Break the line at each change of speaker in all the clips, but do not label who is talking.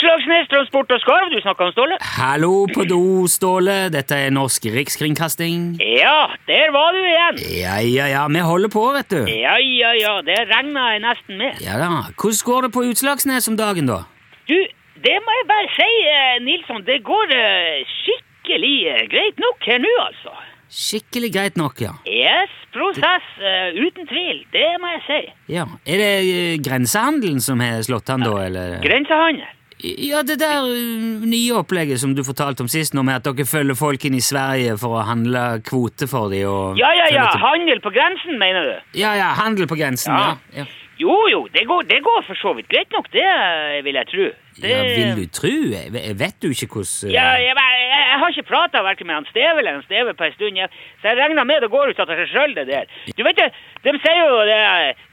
Slagsnes Transport og Skarv, du snakker om Ståle?
Hallo på do, Ståle. Dette er Norsk Rikskringkasting.
Ja, der var du igjen.
Ja, ja, ja, vi holder på, vet du.
Ja, ja, ja, det regna jeg nesten med.
Ja da. Hvordan går det på Utslagsnes om dagen, da?
Du, det må jeg bare si, eh, Nilsson, det går eh, skikkelig eh, greit nok her nå, altså.
Skikkelig greit nok, ja.
Yes, prosess, eh, uten tvil, det må jeg si.
ja. Er det eh, grensehandelen som har slått an, da, eller?
Grensehandel.
Ja, det der eh, nye opplegget som du fortalte om sist, nå med at dere følger folk inn i Sverige for å handle kvote for dem og
Ja, ja, ja,
følger til-
handel på grensen, mener du?
ja, ja. Handel på grensen,
Ja.
ja. ja.
Jo, jo, det går, det går for så vidt greit nok, det eh, vil jeg tro. Det...
Ja, vil du tru? Jeg jeg vet jo ikke hvordan
Ja, jeg, jeg, jeg har ikke prata verken med han Steve eller han Steve på en stund, jeg, så jeg regner med det går ut av seg sjøl, det der. Du vet det, de sier jo det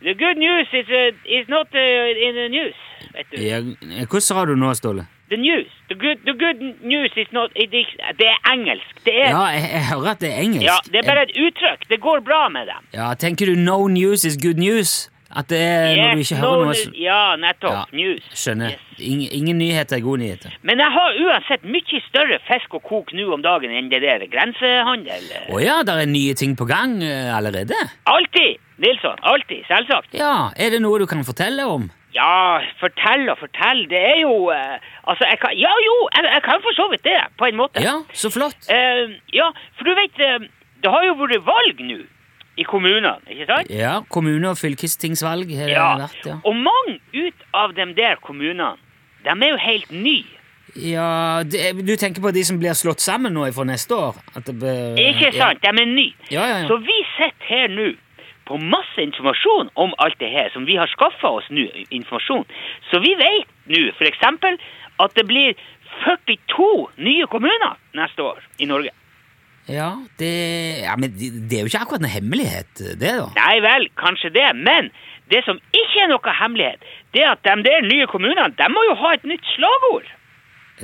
The good news is, uh, is not uh, in the news. Vet du.
eh, Ja, Hvordan sa du nå, Ståle?
The news. The good, the good news is not it is, Det er engelsk. Det er,
Ja, jeg, jeg hører at det er engelsk.
ja, det er bare et uttrykk. Det går bra med dem.
Ja, Tenker du 'no news is good news'? At det er Eh, når du ikke
no
hører noe
news-
som-
Ja, nettopp.
Ja,
News.
Skjønner.
Yes.
Ingen, ingen nyheter er gode nyheter.
Men jeg har uansett mye større fisk å koke nå om dagen enn det der grensehandel.
Å ja, det er nye ting på gang eh, allerede?
Alltid, Nilsson. Alltid. Selvsagt.
Ja, Er det noe du kan fortelle om?
Ja, fortell og fortell. Det er jo eh, Altså, jeg kan Ja jo, jeg, jeg kan for så vidt det, på en måte.
Ja, så flott.
Eh, ja, for du vet, eh, det har jo vært valg nå i kommunene, ikke sant?
Ja, Kommune- og fylkestingsvalg har det vært, Eh, ja.
Og mange ut av dem der kommunene, de er jo helt nye.
ja det, du tenker på de som blir slått sammen nå fra neste år? At det bør-
Ikke sant? De er nye.
Ja, ja, ja.
Så vi sitter her nå på masse informasjon om alt det her, som vi har skaffa oss nå. informasjon. Så vi vet nå f.eks. at det blir 42 nye kommuner neste år i Norge.
Ja, ja, det, ja men det, det er jo ikke akkurat noe hemmelighet, det, da.
Nei vel, kanskje det, men det som ikke er noe hemmelighet, det er at de der nye kommunene de må jo ha et nytt slagord.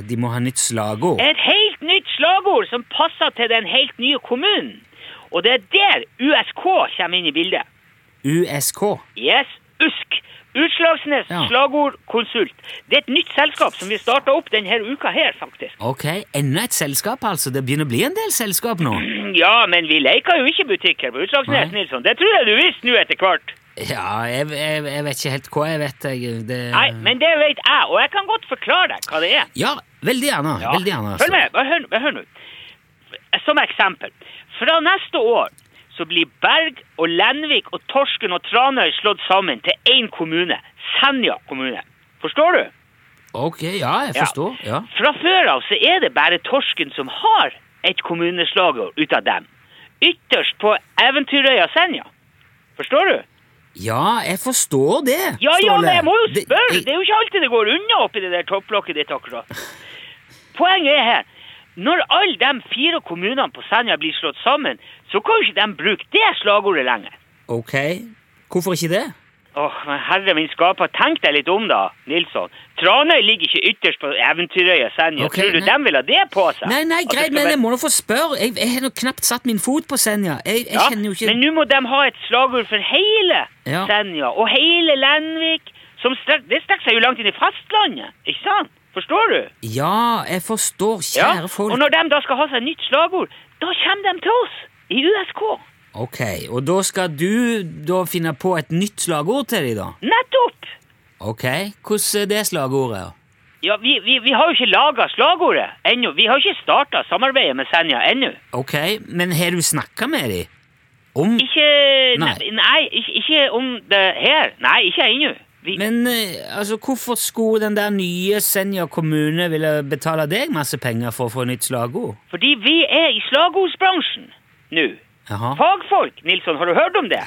De må ha nytt slagord.
Et helt nytt slagord som passer til den helt nye kommunen. Og det er der USK kommer inn i bildet.
USK.
Yes, USK. Utslagsnes
Ja.
slagord konsult. Det er et nytt selskap som vi starta opp denne uka her, faktisk.
Ok, enda et selskap, altså. Det begynner å bli en del selskap nå.
Ja, men vi leker jo ikke butikk her på Utslagsnes,
Nei.
Nilsson. Det tror jeg du visste nå etter hvert.
Ja, jeg, jeg, jeg vet ikke helt hva jeg vet. Jeg, det...
Nei, men det vet jeg, og jeg kan godt forklare deg hva det er.
Ja, veldig gjerne.
Ja.
Veldig gjerne altså.
Følg med, bare hør, bare hør nå. Som eksempel. Fra neste år så blir Berg og Lenvik og Torsken og Tranøy slått sammen til én kommune. Senja kommune. Forstår du?
Ok, ja, jeg
Ja.
forstår. Ja.
Fra før av så er det bare Torsken som har et kommuneslagord ut av dem. Ytterst på Eventyrøya Senja. Forstår du?
ja, jeg forstår det.
Ja, ja,
Ståle.
men jeg må jo
Det-
spørre!
jeg-
Det er jo ikke alltid det går unna oppi det der topplokket ditt akkurat. Poenget er her når alle de fire kommunene på Senja blir slått sammen, så kan jo ikke de bruke det slagordet lenger.
Ok, hvorfor ikke det?
Åh, men herre min skaper, tenk deg litt om da, Nilsson. Tranøy ligger ikke ytterst på Eventyrøya Senja.
Ok,
Tror du
nei.
de vil ha det på seg?
Nei, nei,
At det
greit,
skal
men
være-
jeg må nå få spørre. Jeg, jeg har nå knapt satt min fot på Senja. Jeg, jeg
Ja,
kjenner jo ikke
Men nå må de ha et slagord for hele
Ja.
Senja og hele Lenvik. Som strek, det strekker seg jo langt inn i fastlandet, ikke sant? Forstår du?
Ja, jeg forstår,
Ja.
kjære folk.
Og når de da skal ha seg nytt slagord, da kommer de til oss i USK.
Ok, og da skal du da finne på et nytt slagord til dem, da?
Nettopp!
Ok, hvordan er det slagordet?
Ja, vi, vi, vi har jo ikke laga slagordet ennå. Vi har ikke starta samarbeidet med Senja ennå.
Ok, men har du snakka med dem? Om
Ikke Nei,
Nei.
ikke, ikke om det her. Nei, ikke ennå. Vi-
Men eh, altså, hvorfor skulle den der nye Senja kommune ville betale deg masse penger for å få nytt slagord?
Fordi vi er i slagordsbransjen nå.
Jaha.
Fagfolk, Nilsson, har du hørt om det?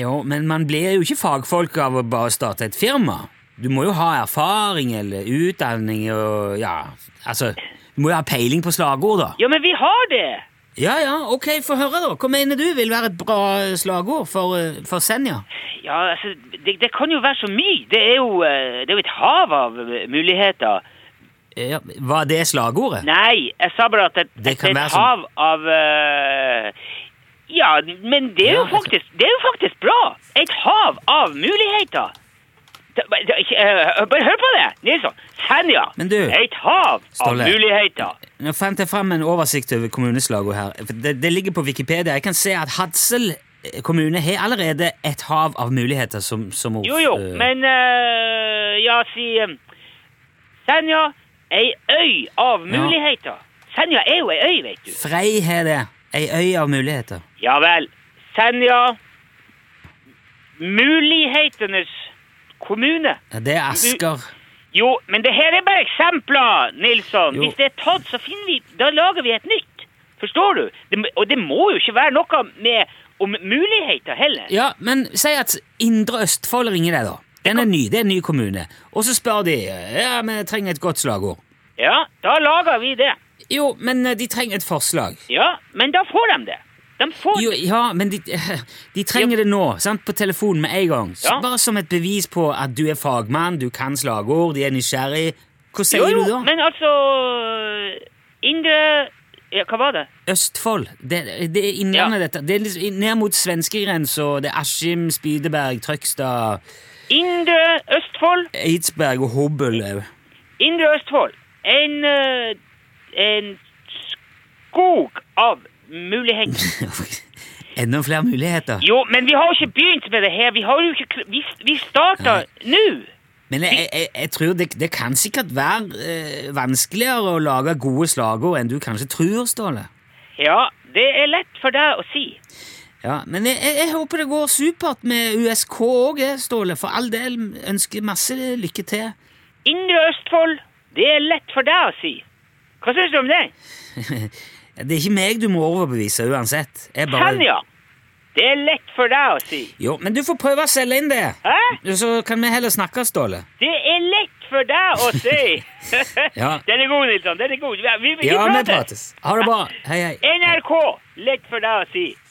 Jo, men man blir jo ikke fagfolk av å bare starte et firma. Du må jo ha erfaring eller utdanning og ja, altså Du må jo ha peiling på slagord, da.
Ja, men vi har det!
Ja ja, ok, få høre, da. Hva mener du vil være et bra eh, slagord for, eh, for Senja?
Ja, altså, det, det kan jo være så mye. Det er jo, eh, det er jo et hav av eh, muligheter.
Eh, Ja, var det slagordet?
Nei, jeg sa bare at det,
Det
det
kan
er
være
et
som-
hav av eh, Ja, men det er,
Ja,
jo
jeg tror-
faktisk, det er jo faktisk bra! Et hav av muligheter! Så, bare- eh, Bare hør på det, Nilsson. Senja.
Men du,
Et hav
Ståle.
av muligheter.
Nå fant jeg fram en oversikt over kommuneslagene her. For Det, det ligger på Wikipedia. Jeg kan se at Hadsel eh, kommune har allerede et hav av muligheter som, som ord.
Jo, jo,
Eh,
men eh, ja, si eh, Senja, ei øy av muligheter. Senja er jo ei øy, vet du.
Frei har det. Ei øy av muligheter.
Ja vel. Senja Mulighetenes kommune.
Ja, Det er Asker.
Jo, men det her er bare eksempler, Nilsson.
Jo.
Hvis det er tatt, så finner vi Da lager vi et nytt. Forstår du? Det, m- og det må jo ikke være noe med om muligheter heller.
Ja, men si at Indre Østfold ringer deg, da. Den er ny. Det er en ny kommune. Og så spør de eh, Ja, vi trenger et godt slagord.
Ja, da lager vi det.
Jo, men eh, de trenger et forslag.
Ja, men da får de det. De får
Jo, ja, men de, de trenger det nå, sant? på telefonen med en gang. Så
Ja.
Bare som et bevis på at du er fagmann, du kan slagord, de er nysgjerrig. Hva sier
Jo, jo,
du da?
men altså øh, Indre ja, Hva var det?
Østfold. Det, det er innlandet, dette. Det er liksom ned mot svenskegrensa. Det er Askim, Spydeberg, Trøgstad,
Indre Østfold.
Eidsberg og Hobøl.
Indre Østfold. En, eh, en skog av muligheter.
Enda flere muligheter.
Jo, men vi har jo ikke begynt med det her. Vi har jo ikke kl- Vi, vi starter nå.
Men jeg, jeg, jeg tror det, det kan sikkert være eh, vanskeligere å lage gode slagord enn du kanskje tror, Ståle.
Ja, det er lett for deg å si.
Ja, men jeg, jeg, jeg håper det går supert med USK òg, Ståle. For all del. Ønsker masse lykke til.
Indre Østfold, det er lett for deg å si. Hva syns du om det?
Det er ikke meg du må overbevise uansett. Jeg bare-
Senja, det er lett for deg å si.
Jo, men du får prøve å selge inn det.
Hæ?
Så kan vi heller snakke, Ståle.
Det er lett for deg å si.
Ja.
Den er god, Nilsson. Den er god. Vi, vi, vi
Ja, vi
prates.
prates. Ha det bra. Hei, hei.
NRK, lett for deg å si.